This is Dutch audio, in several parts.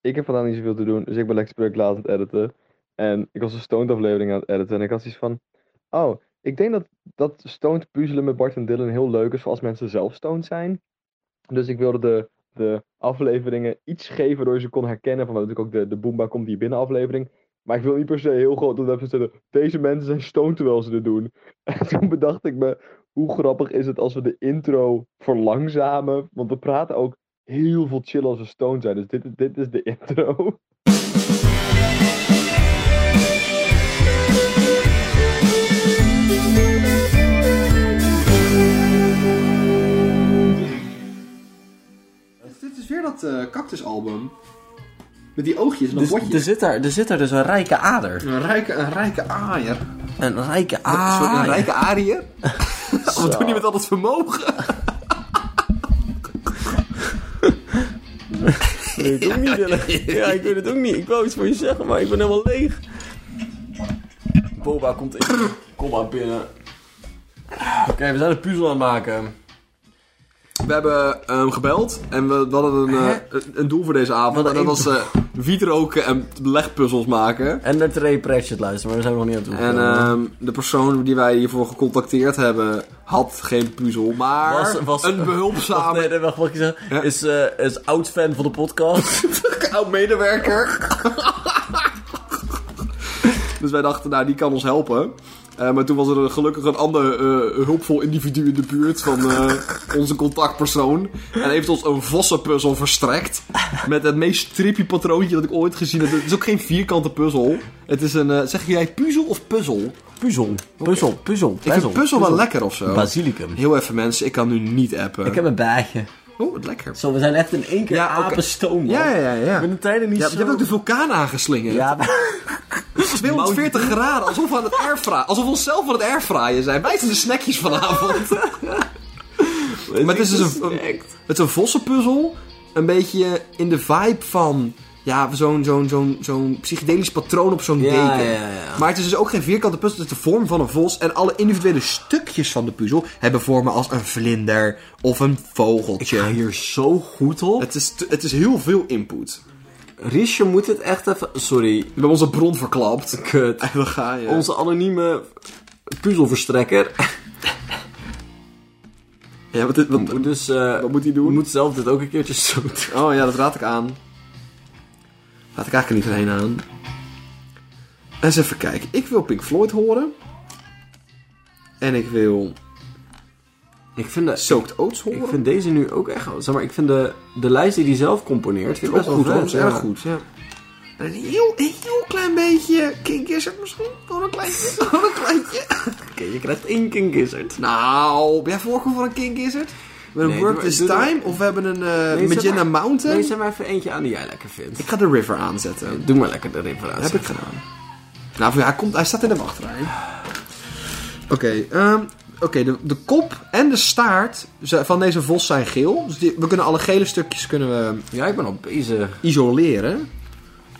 ik heb vandaag niet zoveel te doen, dus ik ben Lex Breuk laat aan het editen. En ik was een Stoned aflevering aan het editen. En ik had zoiets van, oh, ik denk dat dat Stoned puzzelen met Bart en Dylan heel leuk is voor als mensen zelf stoned zijn. Dus ik wilde de, de afleveringen iets geven waardoor je ze kon herkennen. Van natuurlijk ook de, de Boomba komt hier binnen aflevering. Maar ik wil niet per se heel groot dat even zetten. Deze mensen zijn stoned terwijl ze dit doen. En toen bedacht ik me, hoe grappig is het als we de intro verlangzamen? Want we praten ook heel veel chill als we stoned zijn. Dus dit, is- dit is de intro. Dit is weer dat eh cactusalbum. Met die oogjes en dat Dus bordje. er zit, daar, er zit daar dus een rijke ader. Een rijke, een rijke aaier. Een rijke Sorry, een ader. rijke aaier? Wat Zo. doen die met al dat vermogen? Ik weet het ook niet, Dylan. Ja, ik weet het ook niet. Ik wou iets voor je zeggen, maar ik ben helemaal leeg. Boba komt in. Kom maar binnen. Oké, we zijn een puzzel aan het maken. We hebben ehm, gebeld en we, we hadden een, eh, Hè? een- een doel voor deze avond. En Wat dat een- was eh wiet roken en legpuzzels maken. En naar Trey Pratchett luisteren, maar daar zijn we nog niet aan toe. En gekomen. ehm, de persoon die wij hiervoor gecontacteerd hebben, had geen puzzel, maar Was- was- een Wacht, behulpzame nee, nee, wacht, wat ik zeg. Ja. Is, eh, is oud fan van de podcast. oud-medewerker. dus wij dachten, nou, die kan ons helpen. Eh, maar toen was er gelukkig een ander eh, hulpvol individu in de buurt van eh, onze contactpersoon. En heeft ons een vossenpuzzel verstrekt. Met het meest trippy patroontje dat ik ooit gezien heb. Het is ook geen vierkante puzzel. Het is een, eh, zeg jij puzzel of puzzel? puzzel. Puzzel, puzzel, Ik vind puzzel wel lekker of zo. Basilicum. Heel even mensen, ik kan nu niet appen. Ik heb een baagje. Oh, wat lekker. Zo, we zijn echt in één keer Ja, oké. apenstoom, man. Ja, ja, ja. Ik ben de tijden niet Ja, zo... je hebt ook de vulkaan aangeslingerd. Ja, maar- 240 graden, alsof we, aan het airfra- alsof we onszelf aan het airfryen zijn. Wij zijn de snackjes vanavond. maar het is dus een, het is een vossenpuzzel. Een beetje in de vibe van ja, zo'n zo'n zo'n zo'n psychedelisch patroon op zo'n Ja, deken. ja, ja. Maar het is dus ook geen vierkante puzzel, het is de vorm van een vos. En alle individuele stukjes van de puzzel hebben vormen als een vlinder of een Ik vogeltje. ga hier zo goed op. Het is, te- het is heel veel input. Riesje moet het echt even... Sorry, We hebben onze bron verklapt. kut. En we gaan je. Onze anonieme puzzelverstrekker. Ja, wat, dit- wat, Dus eh wat moet hij doen? moet zelf dit ook een keertje zo doen. Oh ja, dat raad ik aan. Raad ik eigenlijk niet iedereen aan. Eens even kijken. Ik wil Pink Floyd horen. En ik wil Ik vind, de, Soaked Oats horen. ik vind deze nu ook echt... Zeg maar, ik vind de, de lijst die hij zelf componeert... Vind ik ook best wel goed hoor. vet, Dat is ja. erg goed. Ja. En Een heel, een heel klein beetje King Gizzard misschien. Gewoon een kleintje. Gewoon een kleintje. Oké, je krijgt één King Gizzard. Nou, ben jij voorkeur voor een King Gizzard? We hebben Nee, Work doe- This doe- Time of we hebben een eh Nee, zeg Magenta maar- Mountain. Nee, zet maar even eentje aan die jij lekker vindt. Ik ga de River aanzetten. Doe maar lekker de Dat referentie. heb ik gedaan. Nou, voor- hij, komt, hij staat in de wachtrij. Oké, ehm, oké, de, de kop en de staart ze- van deze vos zijn geel. Dus die- we kunnen alle gele stukjes kunnen we Ja, ik ben al bezig. eh, isoleren.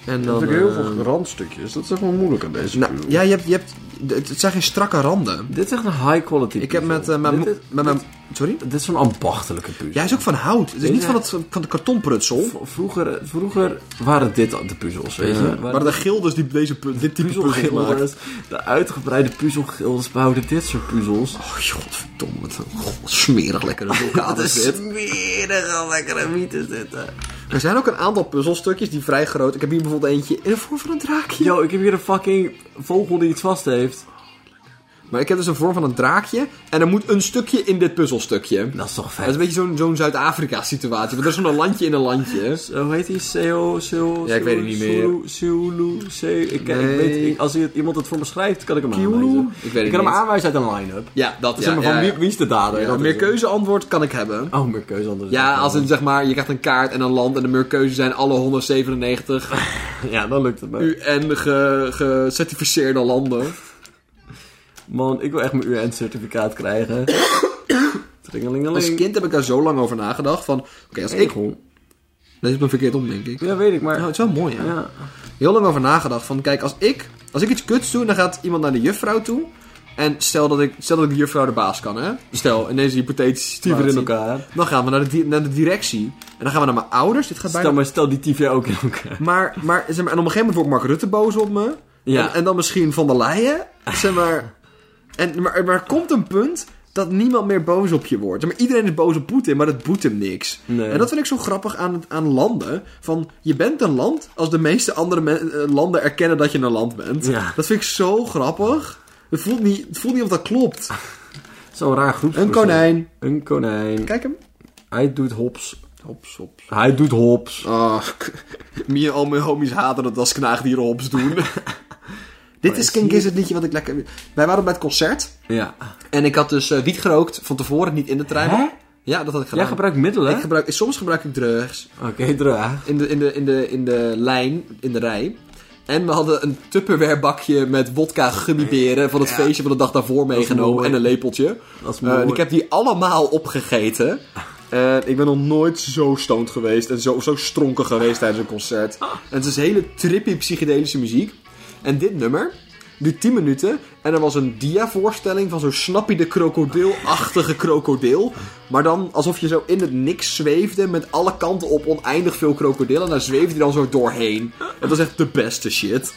En dan, ehm, randstukjes. Dat is echt wel moeilijk aan deze nou, ja, je hebt, je hebt, het het zijn geen strakke randen. Dit is echt een high quality Ik heb puzzel. met, eh, mijn, Dit mo- is- met mijn... Sorry? Dit is zo'n ambachtelijke puzzel. Jij is ook van hout. Het is niet ja. van, het, van de kartonprutsel. V- Vroeger, vroeger waren dit al de puzzels, weet je? Waren Maar de gilders die deze, pu- dit type puzzel maken. puzzelgilders, de uitgebreide puzzelgilders bouwden dit soort puzzels. Oh, godverdomme. Wat een god- smerig lekkere vulkaan is dit. smerige, lekkere wiet is dit, hè. Er zijn ook een aantal puzzelstukjes die vrij groot. Ik heb hier bijvoorbeeld eentje in de vorm van een draakje. Yo, ik heb hier een fucking vogel die iets vast heeft. Maar ik heb dus een vorm van een draakje. En er moet een stukje in dit puzzelstukje. Dat is toch Dat is een vet? beetje zo'n zo'n Zuid-Afrika situatie. Want er is zo'n landje in een landje. eh, Hoe heet die? Seo, Seo, Ja, ik weet het niet meer. Sulu, Sulu, Seo. Ik, ken- Nee. ik weet, ik- als i- iemand het voor me schrijft, kan ik hem Kiulu? aanwijzen. Ik weet het ik kan hem niet. aanwijzen uit een line-up. Ja, dat is Dus Zeg maar van wie, wie is de dader? Dat is meer het. keuzeantwoord kan ik hebben. Oh, meer keuze anders. Ja, als het zeg maar, je krijgt een kaart en een land en de meerkeuze zijn alle 197 ja, dan lukt het me. UN ge- gecertificeerde landen. Man, ik wil echt mijn UN-certificaat krijgen. Als Tringelingeling. kind heb ik daar zo lang over nagedacht van, oké, als ik... Dat is me verkeerd om, denk ik. Ja, weet ik, maar... Nou, het is wel mooi, hè? Oh, ja. heel lang over nagedacht. Van kijk, als ik, als ik iets kuts doe, dan gaat iemand naar de juffrouw toe. En stel dat ik, stel dat ik de juffrouw de baas kan, hè? Stel, in deze hypothetische Laat stiever in zien. elkaar. Dan gaan we naar de, di- naar de directie. En dan gaan we naar mijn ouders. Dit gaat bijna... Stel, maar stel die TV ook in elkaar. Maar, maar, zeg maar, en op een gegeven moment wordt Mark Rutte boos op me. Ja. En, en dan misschien Van der Leyen. Zeg maar, en, maar, maar er komt een punt dat niemand meer boos op je wordt. Zeg maar, iedereen is boos op Poetin, maar dat boet hem niks. Nee. En dat vind ik zo grappig aan, aan landen. Van, je bent een land als de meeste andere men- eh, landen erkennen dat je een land bent. Ja. Dat vind ik zo grappig. Het voelt niet, het voelt niet of dat klopt. Zo'n raar groep. Een konijn. Een konijn. Kijk hem. Hij doet hops. Hops, hops. Hij doet hops. Oh, meer al mijn homies haten dat als knaagdieren hops doen. Dit is King Gizzard liedje wat ik lekker... Wij waren bij het concert Ja. en ik had dus eh, wiet gerookt van tevoren, niet in de trein. Hè? Ja, dat had ik gedaan. Jij gebruikt middelen? ik gebruik, soms gebruik ik drugs Oké, draag. in de, in, de, in, de, in de lijn, in de rij. En we hadden een Tupperware bakje met wodka gummiberen van het feestje van de dag daarvoor meegenomen. mooi. En een lepeltje. Dat is Eh, mooi. en ik heb die allemaal opgegeten. En ik ben nog nooit zo stoned geweest en zo, zo stronken geweest tijdens een concert. En het is hele trippy psychedelische muziek. En dit nummer duurt 10 minuten. En er was een dia-voorstelling van zo'n snappy de krokodilachtige krokodil. Maar dan alsof je zo in het niks zweefde met alle kanten op oneindig veel krokodillen. En daar zweefde hij dan zo doorheen. Het was echt de beste shit.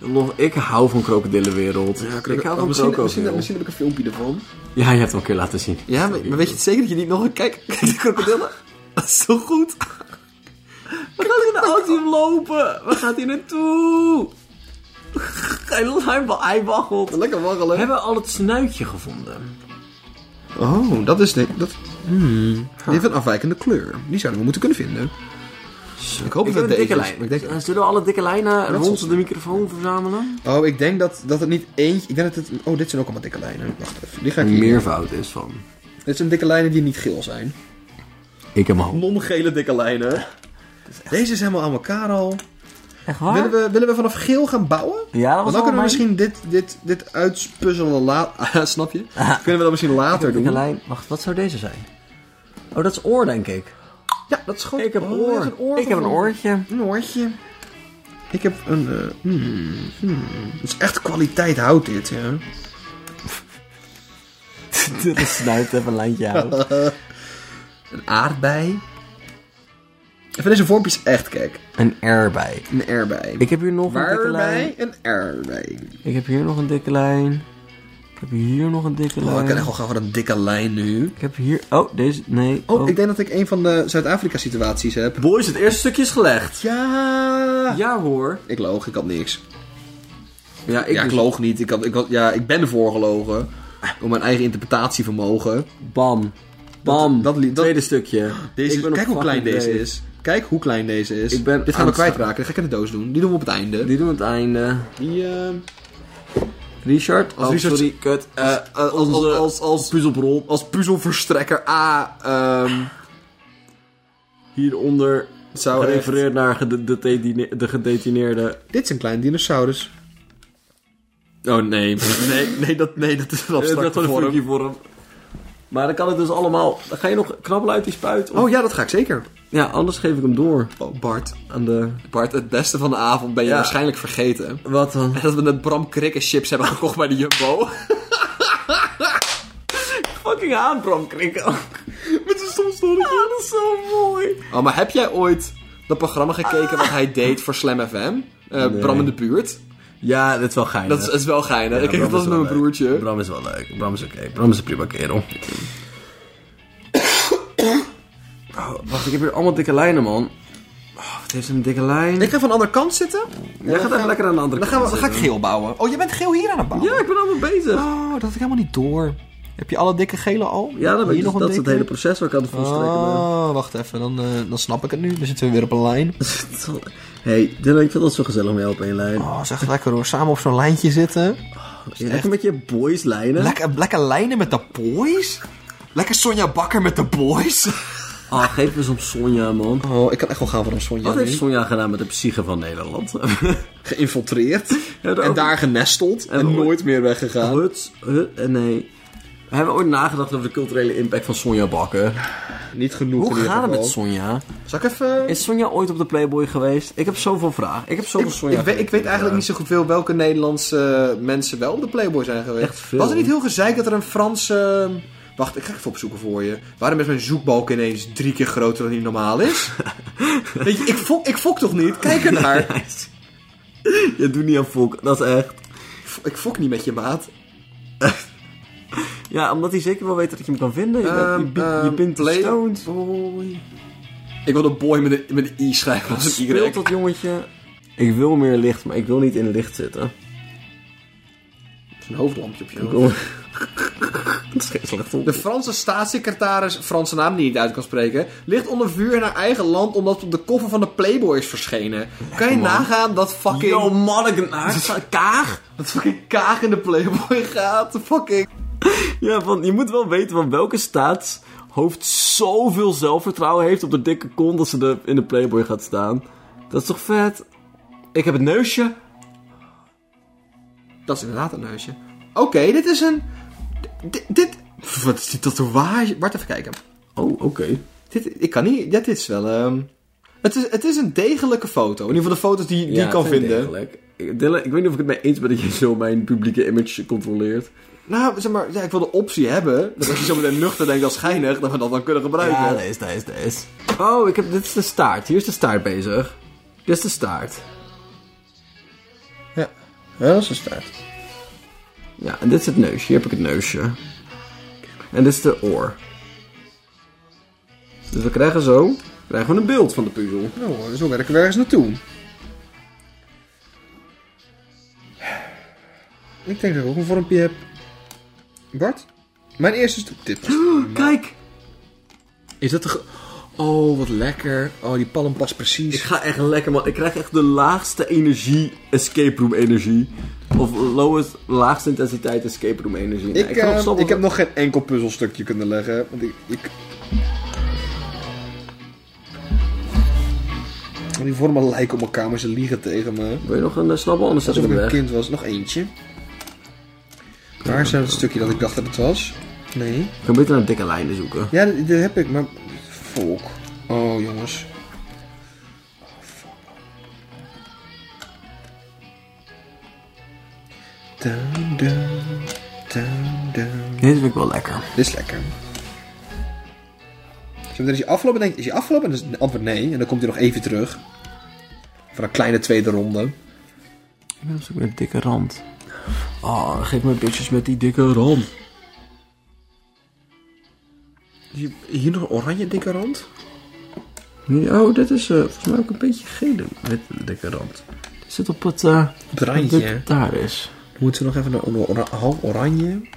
Nog, ik hou van krokodillenwereld. ik hou van misschien, krokodil. misschien, misschien heb ik een filmpje ervan. Ja, je hebt hem een keer laten zien. Ja, maar, maar weet je het zeker dat je niet nog een kijk? Kijk, die krokodillen. Dat is zo goed. We gaan in de auto lopen. Waar gaat hij naartoe? Hij, hij, hij waggelt. We Lekker waggelen. hebben al het snuitje gevonden. Oh, dat is... de- Dat, hmm. Die heeft een afwijkende kleur. Die zouden we moeten kunnen vinden. Ik hoop Ik dat heb een het dikke deze is. lijn. Eh, Ik denk, Zullen we alle dikke lijnen is rond wel- de microfoon verzamelen? oh, ik denk dat, dat het niet eentje... Ik denk dat het... Oh, dit zijn ook allemaal dikke lijnen. Wacht even. Die ga ik Een hier. meervoud is van. Dit zijn dikke lijnen die niet geel zijn. Ik heb al. Non-gele dikke lijnen. Deze is helemaal aan elkaar al. Echt waar? Willen we, willen we vanaf geel gaan bouwen? Ja, dat was Want dan al kunnen we misschien mijn dit, dit, dit uitpuzzelen later. Snap je? Kunnen we dat misschien later dikke doen? lijn. Wacht, wat zou deze zijn? Oh, dat is oor, denk ik. Ja, dat is goed. Ik heb Oh, hij een oor. heeft een oor Ik heb een gevonden. oortje. Een oortje. Ik heb een... eh, hmm, hmm. Het is echt kwaliteit hout dit, ja. Dit is snuit, even een lijntje houden. Een aardbei. Even deze vormpjes echt, kijk. Een R bij. Een erbij. Ik heb hier nog een dikke lijn. Waarbij? Een Oh, erbij. Ik heb hier nog een dikke lijn. Ik heb hier nog een dikke lijn. Oh, ik kan echt wel gaan voor een dikke lijn nu. Ik heb hier... Oh, deze... Nee. Oh, ik denk dat ik een van de Zuid-Afrika situaties heb. Boys, het eerste stukje is gelegd. Ja! Ja hoor. Ik loog, ik had niks. Ja, ik ja, ik dus- Ah. loog niet. Ik, had, ik, had, ja, ik ben ervoor gelogen. Om mijn eigen interpretatievermogen. Bam. Dat- Bam. dat li- dat- Tweede stukje. Deze, Ik ben op kijk hoe klein fucking deze breed. is. Kijk hoe klein deze is. Ik ben Dit aan gaan we het staan. kwijtraken. Dat ga ik in de doos doen. Die doen we op het einde. Die doen we het einde. Die, eh, Richard? Als Richard- sorry, kut. Eh, eh, als, als, onze- als, als, puzzelbron. als puzzelverstrekker A ehm Hieronder zou echt- gerefereerd naar gede- detine- de gedetineerde. Dit is een klein dinosaurus. Oh nee. Nee, nee, dat, nee dat is een Eh, Dat abstracte wordt een vorm. funky vorm. Maar dan kan het dus allemaal... Dan ga je nog knabbelen uit die spuit? Of... Oh ja, dat ga ik zeker. Ja, anders geef ik hem door Oh, Bart. aan de... Bart, het beste van de avond ben je Ja. waarschijnlijk vergeten. Wat dan? Dat we net Bram Krikken chips hebben gekocht bij de Jumbo. Fucking haanbram krikken. Met een stomstory. Ja, dat is zo mooi. Oh, maar heb jij ooit dat programma gekeken wat hij deed voor Slam FM? Eh, Nee. Bram in de buurt. Ja, dat is wel geinig. Dat is, dat is wel geinig. ik keek dat met mijn broertje. Bram is wel leuk. Bram is oké. Bram is een prima kerel. Oh, wacht, ik heb hier allemaal dikke lijnen, man. Oh, wat heeft een dikke lijn? Ik ga van de andere kant zitten. Jij gaat even lekker aan de andere Dan, gaan kant we, dan ga ik zitten. geel bouwen. Oh, je bent geel hier aan het bouwen? Ja, ik ben allemaal bezig. Oh, dat had ik helemaal niet door. Heb je alle dikke gele al? Ja, dat, Hier dus, nog een dat is het dikke? hele proces waar ik aan het volstrekken ben. Oh, wacht even. Dan, eh, dan snap ik het nu. Dan zitten we weer op een lijn. hey, Dylan, ik vind dat zo gezellig mee op één lijn. Oh, is echt lekker hoor. Samen op zo'n lijntje zitten. lekker met je boys lijnen. Lekker, lekker lijnen met de boys. Lekker Sonja Bakker met de boys. Ah, geef eens om Sonja, man. Oh, ik kan echt wel gaan voor een Sonja Wat heeft Sonja gedaan met de psyche van Nederland? Geïnfiltreerd. Ja, daar en ook. daar genesteld. En, nooit- nooit meer weggegaan. Huts, hut, eh, nee. We hebben ooit nagedacht over de culturele impact van Sonja Bakker. Niet genoeg. Hoe in ieder gaat het met geval. Sonja? Zal ik even... Is Sonja ooit op de Playboy geweest? Ik heb zoveel vragen. Ik heb zoveel Ik, Sonja. ik, weet, ik weet eigenlijk niet zo goed veel welke Nederlandse eh, mensen wel op de Playboy zijn geweest. Echt veel. Was er niet heel gezeik dat er een Franse... ehm, Wacht, ik ga even opzoeken voor je. Waarom is mijn zoekbalk ineens drie keer groter dan die normaal is? weet je, ik fok, ik fok toch niet? Kijk ernaar. Je doet niet aan volk. Dat is echt. Ik fok- Ik fok niet met je maat. Ja, omdat hij zeker wel weet dat je hem kan vinden. Je, bent- je, Ehm, bent- je ehm, bent Play- stoned. Boy. Ik wil de boy met een, met een i schrijven als een y. Speelt dat jongetje. Ik wil meer licht, maar ik wil niet in licht zitten. Een hoofdlampje op je Ik hoofd. wil... dat is geen slecht op. De Franse staatssecretaris, Franse naam die niet uit kan spreken, ligt onder vuur in haar eigen land omdat het op de koffer van de Playboy is verschenen. Kan je man. nagaan dat fucking, Yo, man, ik een aard- kaag. dat fucking kaag in de Playboy gaat? Fucking. Ja, want je moet wel weten van welke staatshoofd zoveel zelfvertrouwen heeft op de dikke kont dat ze de, in de Playboy gaat staan. Dat is toch vet? Ik heb het neusje. Dat is inderdaad een neusje. Oké, dit is een. Dit. dit- Pff, wat is die tatoeage? Wacht even kijken. Oh, oké. Dit, ik kan niet. Ja, dit is wel. ehm, het, is, het is een degelijke foto. In ieder geval de foto's die, die ik kan vind ik vinden. degelijk. Ik, Dylan, ik weet niet of ik het mee eens ben dat je zo mijn publieke image controleert. Nou, zeg maar, ja, ik wil de optie hebben. Dat als je zo meteen nuchter denkt als schijnig, dat we dat dan kunnen gebruiken. is, dat is, dat is. Oh, ik heb, dit is de staart. Hier is de staart bezig. Dit is de staart. Ja, ja dat is een staart. Ja, en dit is het neusje. Hier heb ik het neusje. En dit is de oor. Dus we krijgen zo krijgen we een beeld van de puzzel. Nou, zo werken we ergens naartoe. Ik denk dat ik ook een vormpje heb. Bart? Mijn eerste tip. Kijk, Is dat de... ge- Oh, wat lekker. Oh, die palm past ik precies. ga echt lekker man. Ik krijg echt de laagste energie, escape room energie. Of lowest, laagste intensiteit escape room energie. Nou, Ik, ga nog eh, snappen ik heb wat- nog geen enkel puzzelstukje kunnen leggen. Want ik... ik... Die vormen lijken op elkaar, maar ze liegen tegen me. Wil je nog een eh, snabbel? Anders zet ik Alsof hem ik een weg. kind was. Nog eentje. Waar is nou het stukje dat ik dacht dat het was? Nee. Ik kan beter naar dikke lijnen zoeken. Ja, dat dat heb ik, maar... Volk. Oh, jongens. Oh, fuck. Dun, dun, dun, dun. Deze vind ik wel lekker. Dit is lekker. Zeg maar, dan is hij afgelopen, denk ik, is hij afgelopen? En dan is het antwoord nee. En dan komt hij nog even terug. Voor een kleine tweede ronde. Ik ben op zoek naar een dikke rand. Oh, geef me bitches met die dikke rand. Hier, hier nog een oranje dikke rand. Oh, dit is eh, volgens mij ook een beetje gele met een dikke rand. Dit zit op het, eh, Op het randje. wat dit daar is. Moeten we nog even naar onder ora- half oranje?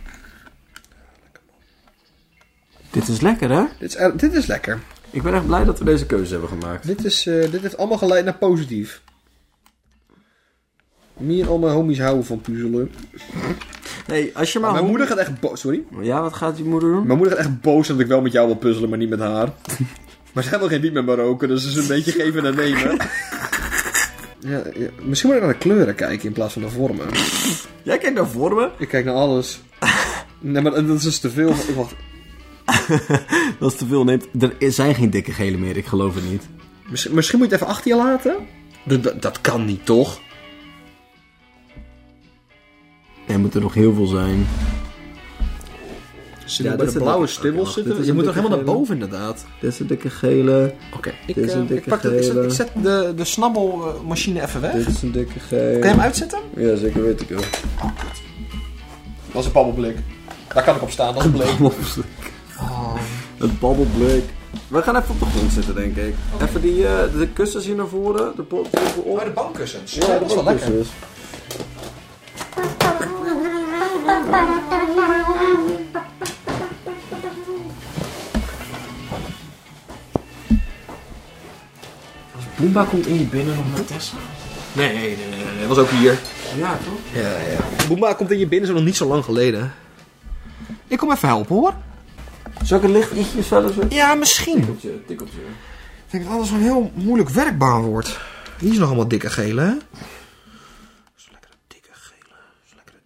Dit is lekker, hè? Dit is, eh, dit is lekker. Ik ben echt blij dat we deze keuze hebben gemaakt. Dit, is, eh, dit heeft allemaal geleid naar positief. Meer en al mijn homies houden van puzzelen. Nee, als je maar... Oh, mijn moeder gaat echt boos. Sorry? Ja, wat gaat je moeder doen? Mijn moeder gaat echt boos dat ik wel met jou wil puzzelen, maar niet met haar. maar zij wil geen wiet met me roken, dus het is een beetje geven en nemen. ja, ja, misschien moet ik naar de kleuren kijken in plaats van de vormen. Jij kijkt naar vormen. Ik kijk naar alles. Nee, maar dat is dus te veel. Ik wacht. Dat is te veel neemt. Er is- zijn geen dikke gele meer, ik geloof het niet. Misschien, misschien moet je het even achter je laten? Dat- dat- dat kan niet, toch? Er moeten nog heel veel zijn. Ze Ja, ja, bij dit de is blauwe een- stibbel oké, wacht, dit zitten. is Je een moet toch helemaal dikke naar gele. boven, inderdaad. Dit is een dikke gele. Oké, ik, Dit is een eh, ik, dikke pak de, ik, zet, gele. ik zet de, de snabbelmachine even weg. Dit is een dikke gele. Kun je hem uitzetten? Ja, zeker weet ik wel. Dat is een babbelblik. Daar kan ik op staan, dat is een blik. Babbelblik. Oh. Het babbelblik. We gaan even op de grond zitten, denk ik. Even die eh, de kussens hier naar voren. Oh, De pot boven op. de bankkussens. Ja, Ja, dat is wel lekker. kussens. Boomba komt in je binnen nog naar Tessa. Nee, nee, nee, nee, nee, dat was ook hier. Ja, toch? Ja, ja. Boemba komt in je binnen, zo nog niet zo lang geleden. Ik kom even helpen, hoor. Zal ik een licht ietsje verder zetten? Ja, misschien. Tikkeltje, tikkeltje. Ik denk dat anders een heel moeilijk werkbaar wordt. Die is nog allemaal dikke gele, hè? Zo'n lekkere dikke gele. Zo'n lekkere...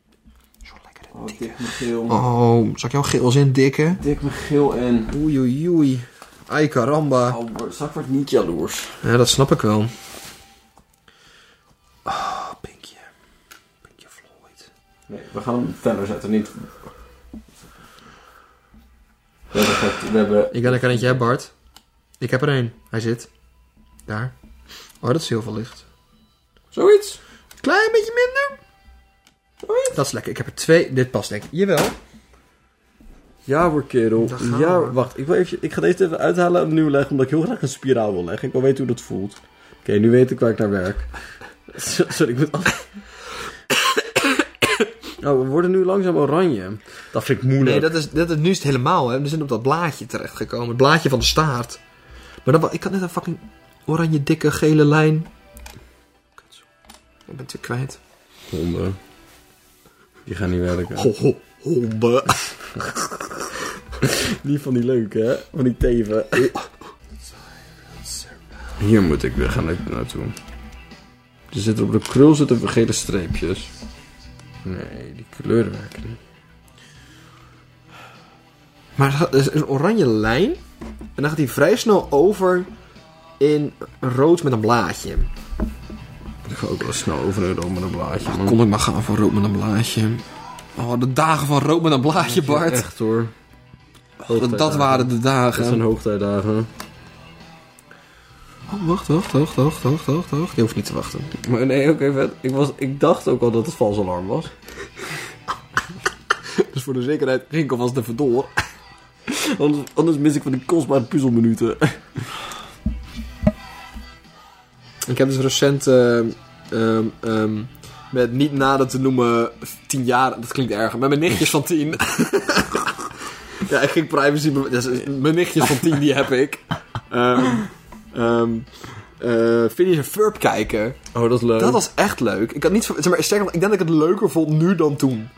Zo'n lekkere Oh, dik me geel. Oh, zal ik jou geel zin dikken? Dik me geel en... Oei, oei, oei. Ai, caramba. Oh, word- Zak wordt niet jaloers. Ja, dat snap ik wel. Oh, Pinkje. Pinkje Floyd. Nee, we gaan hem verder zetten, niet... We hebben... gek- We hebben... Ik ben er eentje hebben, Bart. Ik heb er één. Hij zit. Daar. Oh, dat is heel veel licht. Zoiets? Klein beetje minder. Dat is lekker. Ik heb er twee. Dit past denk ik. Jawel. Ja hoor, kerel. Daar gaan Ja, we. wacht. Ik, wil even, ik ga deze even uithalen en opnieuw leggen, omdat ik heel graag een spiraal wil leggen. Ik wil weten hoe dat voelt. Oké, nu weet ik waar ik naar werk. Sorry, ik moet af... Oh, we worden nu langzaam oranje. Dat vind ik moeilijk. Nee, dat is, dat is, nu is het helemaal. Hè. We zijn op dat blaadje terechtgekomen. Het blaadje van de staart. Maar dan, wa- ik had net een fucking oranje dikke gele lijn. Kutzo. Ik ben het weer kwijt. Honden. Die gaan niet werken. Ho, ho, honden. Niet van die leuke, hè? Van die teven. Hier moet ik weer gaan na- naartoe. Er zitten op de krul zitten gele streepjes. Nee, die kleuren werken niet. Maar er is een oranje lijn. En dan gaat hij vrij snel over in rood met een blaadje. Ik ga ook wel snel over een rommel een blaadje, man. Kon ik maar gaan voor rood met een blaadje. Oh, de dagen van rood met een blaadje, Bart. Echt hoor. Dat, dat waren de Dat zijn dagen. hoogtijdagen. Oh, wacht, wacht, wacht, wacht, wacht, wacht, wacht. Je hoeft niet te wachten. Maar nee, oké, vet. Ik, was, ik dacht ook al dat het vals alarm was. Dus voor de zekerheid ging ik alvast even door. Anders, anders mis ik van die kostbare puzzelminuten. Ik heb dus recent ehm, ehm, ehm, met niet nader te noemen tien jaar, dat klinkt erg, maar mijn nichtjes van tien. ja, ik ging privacy. be- Dus, eh, mijn nichtjes van tien, die heb ik. Ehm ehm eh, Phineas en Ferb kijken. Oh, dat is leuk. Dat was echt leuk. Ik had niet, ver- zeg maar, sterker nog, ik denk dat ik het leuker vond nu dan toen.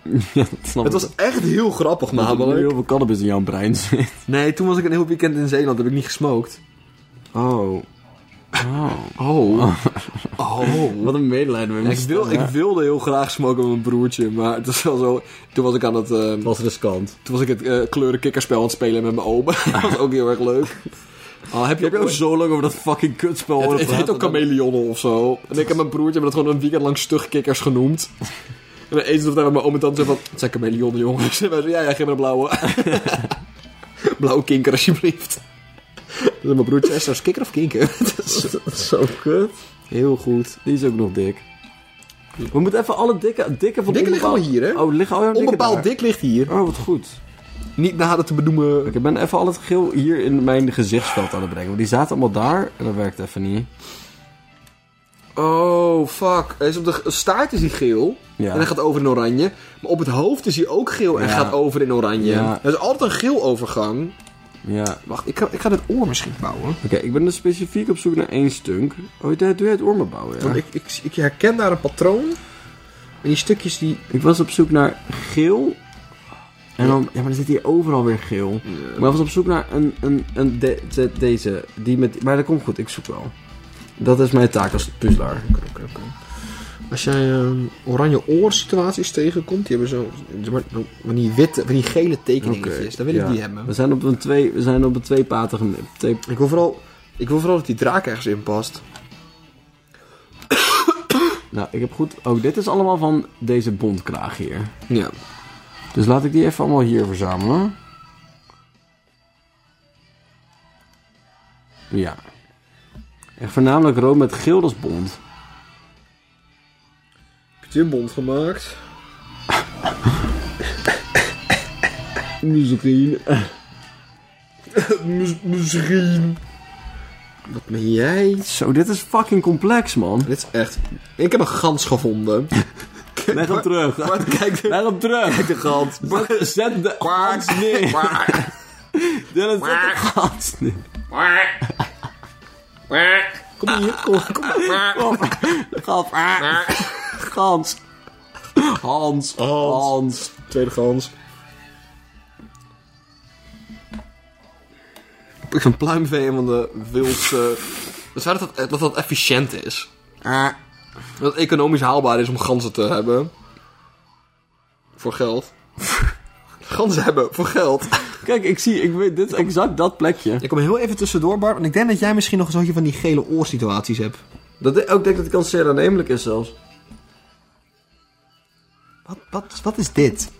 snap Het ik. was echt heel grappig Oh. Dat er nu namelijk. heel veel cannabis in jouw brein zit. Nee, toen was ik een heel weekend in Zeeland, heb ik niet gesmokt. Oh. Oh. Oh. Oh. Wat een medelijden met Ja, ik, mijn wil, stem, hè? ik wilde heel graag smoken met mijn broertje, maar het was wel zo... Toen was ik aan het, ehm, Het was riskant. toen was ik het eh, kleurenkikkerspel aan het spelen met mijn oma. dat was ook heel erg leuk. Oh, heb je, Ik heb ook... ook zo lang over dat fucking kutspel Het, horen het heet praten. ook chameleonnen of zo. En ik en mijn broertje hebben dat gewoon een weekend lang stugkikkers genoemd. En dan eens of daar met mijn oom en tante zo van... Het zijn chameleonnen, jongens. En wij zo, ja, ja, geef me een blauwe. blauwe kinker, alsjeblieft. Dus mijn broertje, is dat kikker of kinker? Dat is Dat is Zo kut. heel goed. Die is ook nog dik. We moeten even alle dikke, dikke van Dikke liggen onbepaald- allemaal hier, hè? Oh, liggen al jouw dikke Onbepaald daar? dik ligt hier. Oh, wat goed. Niet nader te benoemen. Ik ben even al het geel hier in mijn gezichtsveld aan het brengen. Want die zaten allemaal daar en dat werkt even niet. Oh, fuck. Hij is op de staart is hij geel. Ja. En hij gaat over in oranje. Maar op het hoofd is hij ook geel en Ja. gaat over in oranje. Ja. Dat is altijd een geel overgang. Ja. Wacht, ik ga, ik ga dit oor misschien bouwen. Oké, ik ben dus specifiek op zoek naar één stunk. Oh, daar doe jij het oor maar bouwen, ja. Want Ik... ik, ik, ik herken daar een patroon. En die stukjes die... was op zoek naar geel. En dan... Ja, maar er zit hier overal weer geel. Maar ik was op zoek naar een... een, een de- de- deze. Die met... Maar dat komt goed, ik zoek wel. Dat is mijn taak als puzzelaar. Oké, oké, oké. Als jij ehm, oranje oorsituaties tegenkomt, die hebben zo... zeg maar, Van die witte, van die gele tekeningetjes. Oké, Dan wil ik ja. die hebben. We zijn op een twee... We zijn op een tweepatige... Twee... Ik wil vooral, ik wil vooral dat die draak ergens in past. Nou, ik heb goed... Ook dit is allemaal van deze bondkraag hier. Ja. Dus laat ik die even allemaal hier verzamelen. Ja. En voornamelijk rood met geel als bond. Heb je een bond gemaakt? Misschien. misschien. Wat ben jij? Zo, dit is fucking complex, man. Dit is echt... Ik heb een gans gevonden. Leg hem terug. Bart, kijk de, Leg hem terug. de gans. Zet- Zet de gans neer. Dylan, zet de gans neer. Kom hier, kom, kom maar. Kom. Gans. Gans. Hans. Hans. Tweede gans. Ik vind pluimvee een van de wildste... Dat zou dat, dat dat efficiënt is. Eh. Dat het economisch haalbaar is om ganzen te hebben. Voor geld. Ganzen hebben voor geld. Kijk, ik zie, ik weet, dit is exact dat plekje. Ik kom heel even tussendoor, Bart. Want ik denk dat jij misschien nog een soortje van die gele oorsituaties hebt. Dat ik ook denk dat de kans zeer aannemelijk is zelfs. Wat, wat, wat is dit?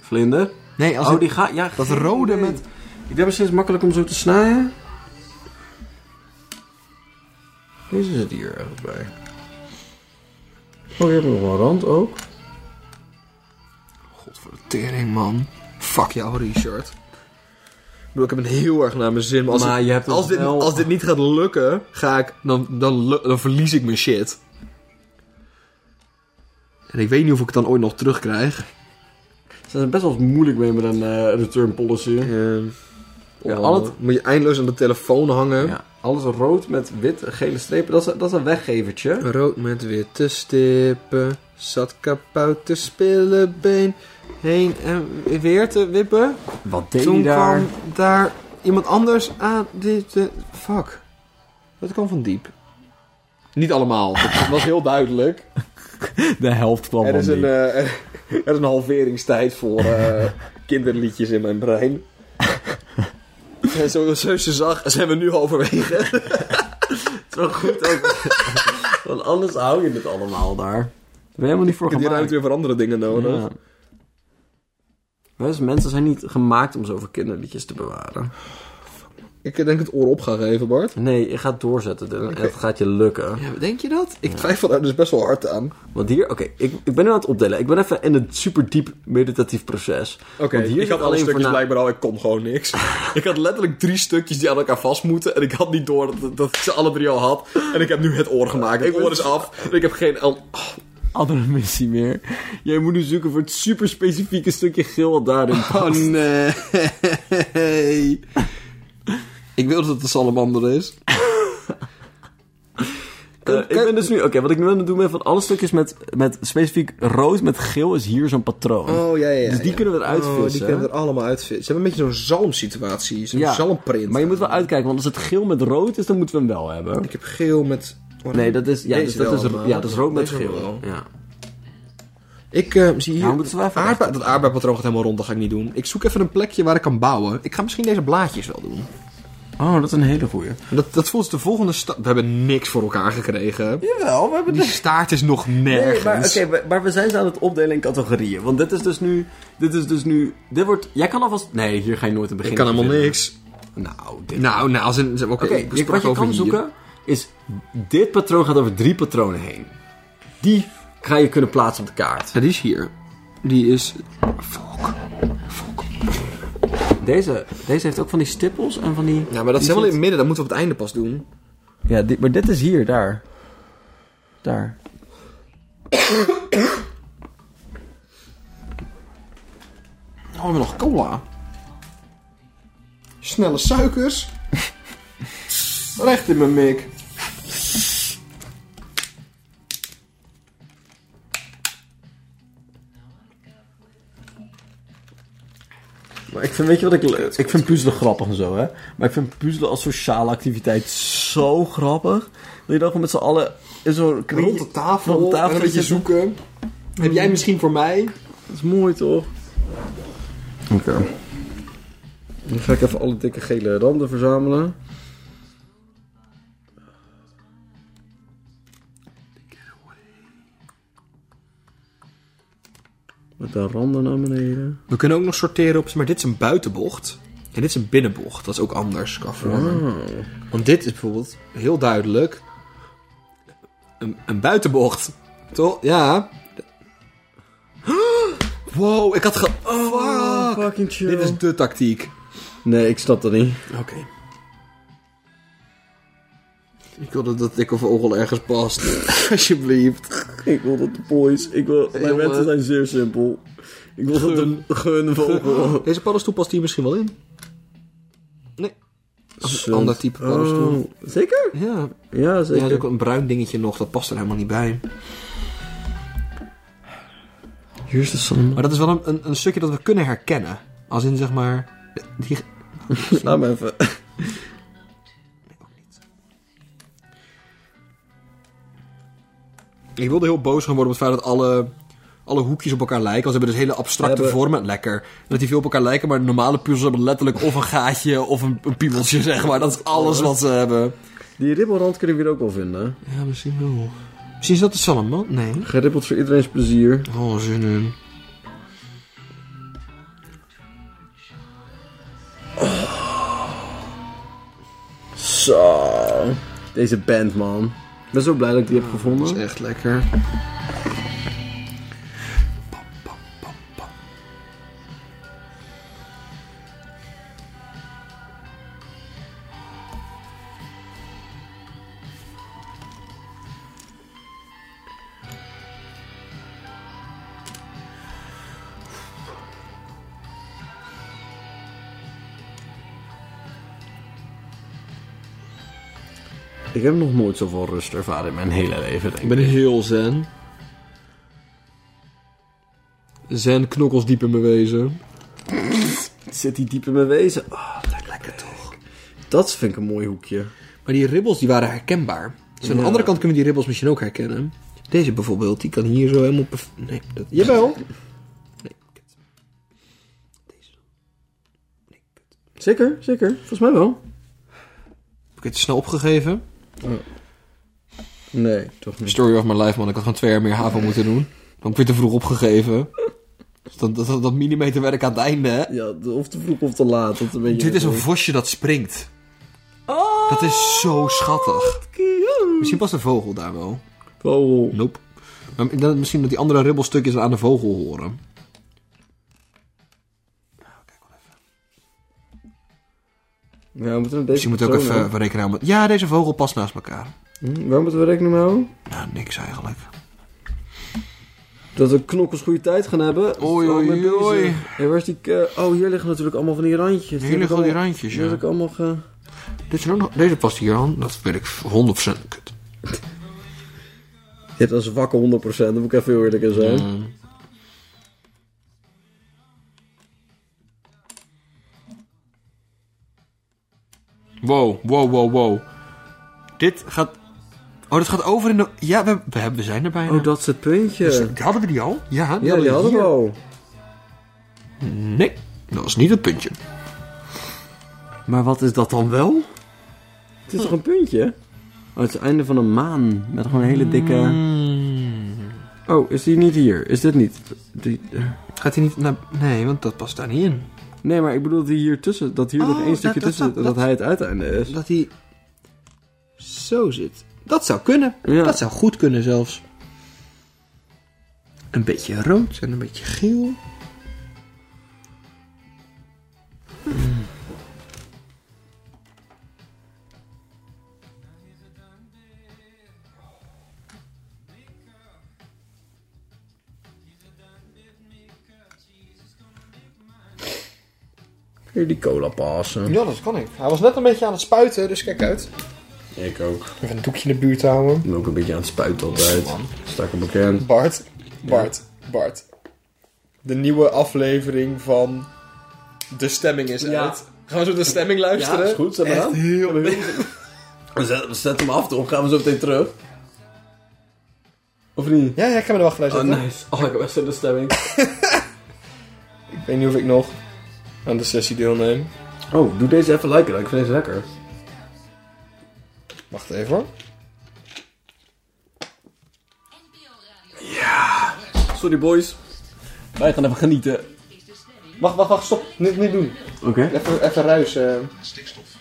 Vlinder? Nee, als oh, het- die gaat, ja. dat geen rode idee. met- Ik denk misschien is het makkelijk om zo te snijden. Deze zit hier ergens bij. Oh, je hebt nog een rand ook. God voor de tering, man. Fuck jou, Richard. Ik bedoel, ik heb het heel erg naar mijn zin. Maar als, Maar het- je hebt als, het dit, wel- als dit niet gaat lukken, ga ik, dan, dan, lu- dan verlies ik mijn shit. En ik weet niet of ik het dan ooit nog terugkrijg. Ze zijn best wel eens moeilijk mee met een eh, return policy. Ehm Ja, oh, al het- Moet je eindeloos aan de telefoon hangen. Ja, alles rood met wit en gele strepen, dat is, dat is een weggevertje. Rood met witte stippen. Zat kabouter spillebeen. Heen en weer te wippen. Wat deed Toen hij daar? kwam daar iemand anders aan. Dit, eh, fuck. Dat kwam van diep. Niet allemaal. Het was heel duidelijk. De helft kwam Er is, een, eh, er is een halveringstijd voor eh, kinderliedjes in mijn brein. En zo- zoals je zag, zijn we nu halverwege. Zo goed ook. Want anders hou je het allemaal daar. Daar ben je helemaal niet voor Ik heb die gemaakt. ruimte weer voor andere dingen nodig. Ja. Wij als mensen zijn niet gemaakt om zoveel kinderliedjes te bewaren. Ik denk het oor op gaan geven, Bart. Nee, je gaat doorzetten Dylan, en het gaat je lukken. Ja, denk je dat? Ik twijfel daar dus best wel hard aan. Want hier, oké, ik, ik ben nu aan het opdelen. Ik ben even in een super diep meditatief proces. Oké, Want hier ik had zit alle alleen stukjes voor na- blijkbaar al, ik kon gewoon niks. ik had letterlijk drie stukjes die aan elkaar vast moeten. En ik had niet door dat, dat ik ze alle drie al had. En ik heb nu het oor gemaakt. Het oor is af. En ik heb geen... al- Oh, andere missie meer. Jij moet nu zoeken voor het super specifieke stukje geel wat daarin past. Oh, nee. ik wil dat het een salamander is. Eh, ik ben dus nu, oké, wat ik nu aan het doen ben van alle stukjes met, met specifiek rood met geel is hier zo'n patroon. Oh, ja, ja, ja. dus die ja. kunnen we eruit Oh, die vissen. kunnen er allemaal uitvissen. Ze hebben een beetje zo'n zalmsituatie. Zo'n Ja, zalmprint. Maar je moet wel uitkijken, want als het geel met rood is, dan moeten we hem wel hebben. Ik heb geel met... oranje. Nee, dat is, ja, Deze dus dat wel is, allemaal. ja, dat is rood met Deze geel. wel. Ja. Ik eh, zie hier... Ja, we moeten wel even aardbei- dat aardbeipatroon gaat helemaal rond, dat ga ik niet doen. Ik zoek even een plekje waar ik kan bouwen. Ik ga misschien deze blaadjes wel doen. Oh, dat is een hele goeie. Dat, dat voelt de volgende stap. We hebben niks voor elkaar gekregen. Jawel, we hebben Die staart is nog nergens. Nee, maar, oké, we- maar we zijn ze aan het opdelen in categorieën. Want dit is dus nu. Dit is dus nu. Dit wordt. Jij kan alvast. Nee, hier ga je nooit een begin. Ik kan helemaal vinden. niks. Nou, dit. Nou, nou, als in, oké, Oké, ik je- sprak wat je over kan hier. zoeken is. Dit patroon gaat over drie patronen heen. Die ga je kunnen plaatsen op de kaart. Ja, die is hier. Die is... Deze, deze heeft ook van die stippels en van die. Ja, maar dat is helemaal in het midden. Dat moeten we op het einde pas doen. Ja, dit- maar dit is hier, daar. Daar. Oh, we hebben nog cola. Snelle suikers. Recht in mijn mik. Maar ik vind, weet je wat ik leuk Ik vind puzzelen grappig en zo, hè. Maar ik vind puzzelen als sociale activiteit zo grappig. Dat je dan gewoon met z'n allen in zo'n kring- Rond de tafel. rond de tafel en een beetje zitten. zoeken. Heb jij misschien voor mij? Dat is mooi, toch? Oké. Dan ga ik even alle dikke gele randen verzamelen. Met de randen naar beneden. We kunnen ook nog sorteren op... Maar dit is een buitenbocht. En dit is een binnenbocht. Dat is ook anders qua vorm. Want dit is bijvoorbeeld heel duidelijk... Een, een buitenbocht. Toch? Ja. Wow, ik had ge... Oh, fuck. fucking chill. Dit is de tactiek. Nee, ik snap dat niet. Oké. Ik wilde dat dik of ogel ergens past. Alsjeblieft. Ik wil dat de boys. Ik wil, mijn jongen. wensen zijn zeer simpel. Ik wil dat de gun Oh, vogel. Deze paddenstoel past hier misschien wel in. Nee. Dat is een ander type paddenstoel. Oh, zeker? Ja, Ja, ja, er is zeker. ook een bruin dingetje nog. Dat past er helemaal niet bij. Hier is de zon. Maar dat is wel een, een, een stukje dat we kunnen herkennen. Als in, zeg maar... Die... Laat me even. Ik wilde heel boos gaan worden op het feit dat alle... alle hoekjes op elkaar lijken. Want ze hebben dus hele abstracte We hebben- vormen. Lekker. Dat die veel op elkaar lijken, maar normale puzzels hebben letterlijk of een gaatje of een, een piemeltje, zeg maar. Dat is alles wat ze hebben. Die ribbelrand kunnen we hier ook wel vinden. Ja, misschien wel. Misschien is dat de salamand? Nee. Geribbeld voor iedereen's plezier. Oh, zin in. Zo. Deze band, man. Ik ben zo blij dat ik die Ah, heb gevonden. Echt lekker. Ik heb nog nooit zoveel rust ervaren in mijn hele leven, denk ik. Ik ben heel zen. Zen knokkels diep in mijn wezen. Zit die diep in mijn wezen? Oh, lekker, lekker toch. Dat vind ik een mooi hoekje. Maar die ribbels die waren herkenbaar. Dus aan de Ja. andere kant kunnen we die ribbels misschien ook herkennen. Deze bijvoorbeeld, die kan hier zo helemaal... perf- Nee, dat... Jawel! Zeker, zeker. Volgens mij wel. Heb ik het snel opgegeven? Nee, toch niet. Story of my life, man. Ik had gewoon twee jaar meer HAVO moeten doen. Dan heb ik weer te vroeg opgegeven. Dus dat, dat, dat, dat millimeterwerk aan het einde, hè. Ja, de- of te vroeg of te laat. Dat een beetje Dit is een vosje dat springt. Dat is zo schattig. Misschien past een vogel daar wel. vogel. Nope. Maar dan- misschien dat die andere ribbelstukjes aan de vogel horen. Ja, we moeten we deze Misschien Dus moet ik ook persoon even rekenen aan... Ja, deze vogel past naast elkaar. houden? Hm, Waar moeten we rekening mee houden? Nou, niks eigenlijk. Dat we knokkels goede tijd gaan hebben. Oei, Daar zijn we oei, mee bezig. oei. En waar is die... ke- oh, hier liggen natuurlijk allemaal van die randjes. Die Hier heb ik liggen al die allemaal- randjes, Die heb ja. ik allemaal ge... Dit is ook nog- Deze past hier aan. Dat weet ik 100% kut. Je hebt een zwakke 100%, daar moet ik even heel eerlijk in zijn. Wow, wow, wow, wow. Dit gaat... Oh, dat gaat over in de... Ja, we, we, hebben- we zijn er bijna. Oh, dat is het puntje. Dus- hadden we die al? Ja, ja, die hadden we hier. al. Nee, dat was niet het puntje. Maar wat is dat dan wel? Het is toch een puntje? Oh, het is het einde van een maan. Met gewoon een hele dikke... Mm. Hmm. Oh, is die niet hier? Is dit niet? Die... eh, Gaat hij niet naar... Nee, want dat past daar niet in. Nee, maar ik bedoel dat die hier tussen... Dat hier Oh, nog één dat- stukje dat- dat- tussen zit. en Dat, dat- hij het uiteinde is. Dat hij zo zit. Dat zou kunnen. Ja. Dat zou goed kunnen zelfs. Een beetje rood en een beetje geel. Hier die cola passen. Ja, dat kan ik. Hij was net een beetje aan het spuiten, dus kijk uit. Ik ook. Even een doekje in de buurt houden. Ik ben ook een beetje aan het spuiten altijd. Sta ik op bekend. Bart, Bart, Bart. De nieuwe aflevering van De Stemming is Ja. uit. Gaan we zo de stemming luisteren? Ja, is goed, zet maar Echt aan. heel leuk. Zet, zet hem af, dan gaan we zo meteen terug. Of niet? Ja, ja, ik ga me de wachtrij Oh, zetten. nice. Oh, ik heb echt zin in de stemming. Ik weet niet of ik nog aan de sessie deelneem. Oh, doe deze even liken dan. Ik vind deze lekker. Wacht even hoor. Sorry, boys. Wij gaan even genieten. Wacht, wacht, wacht, stop. Niet, niet doen. Oké. Even, even ruis. eh. stikstof.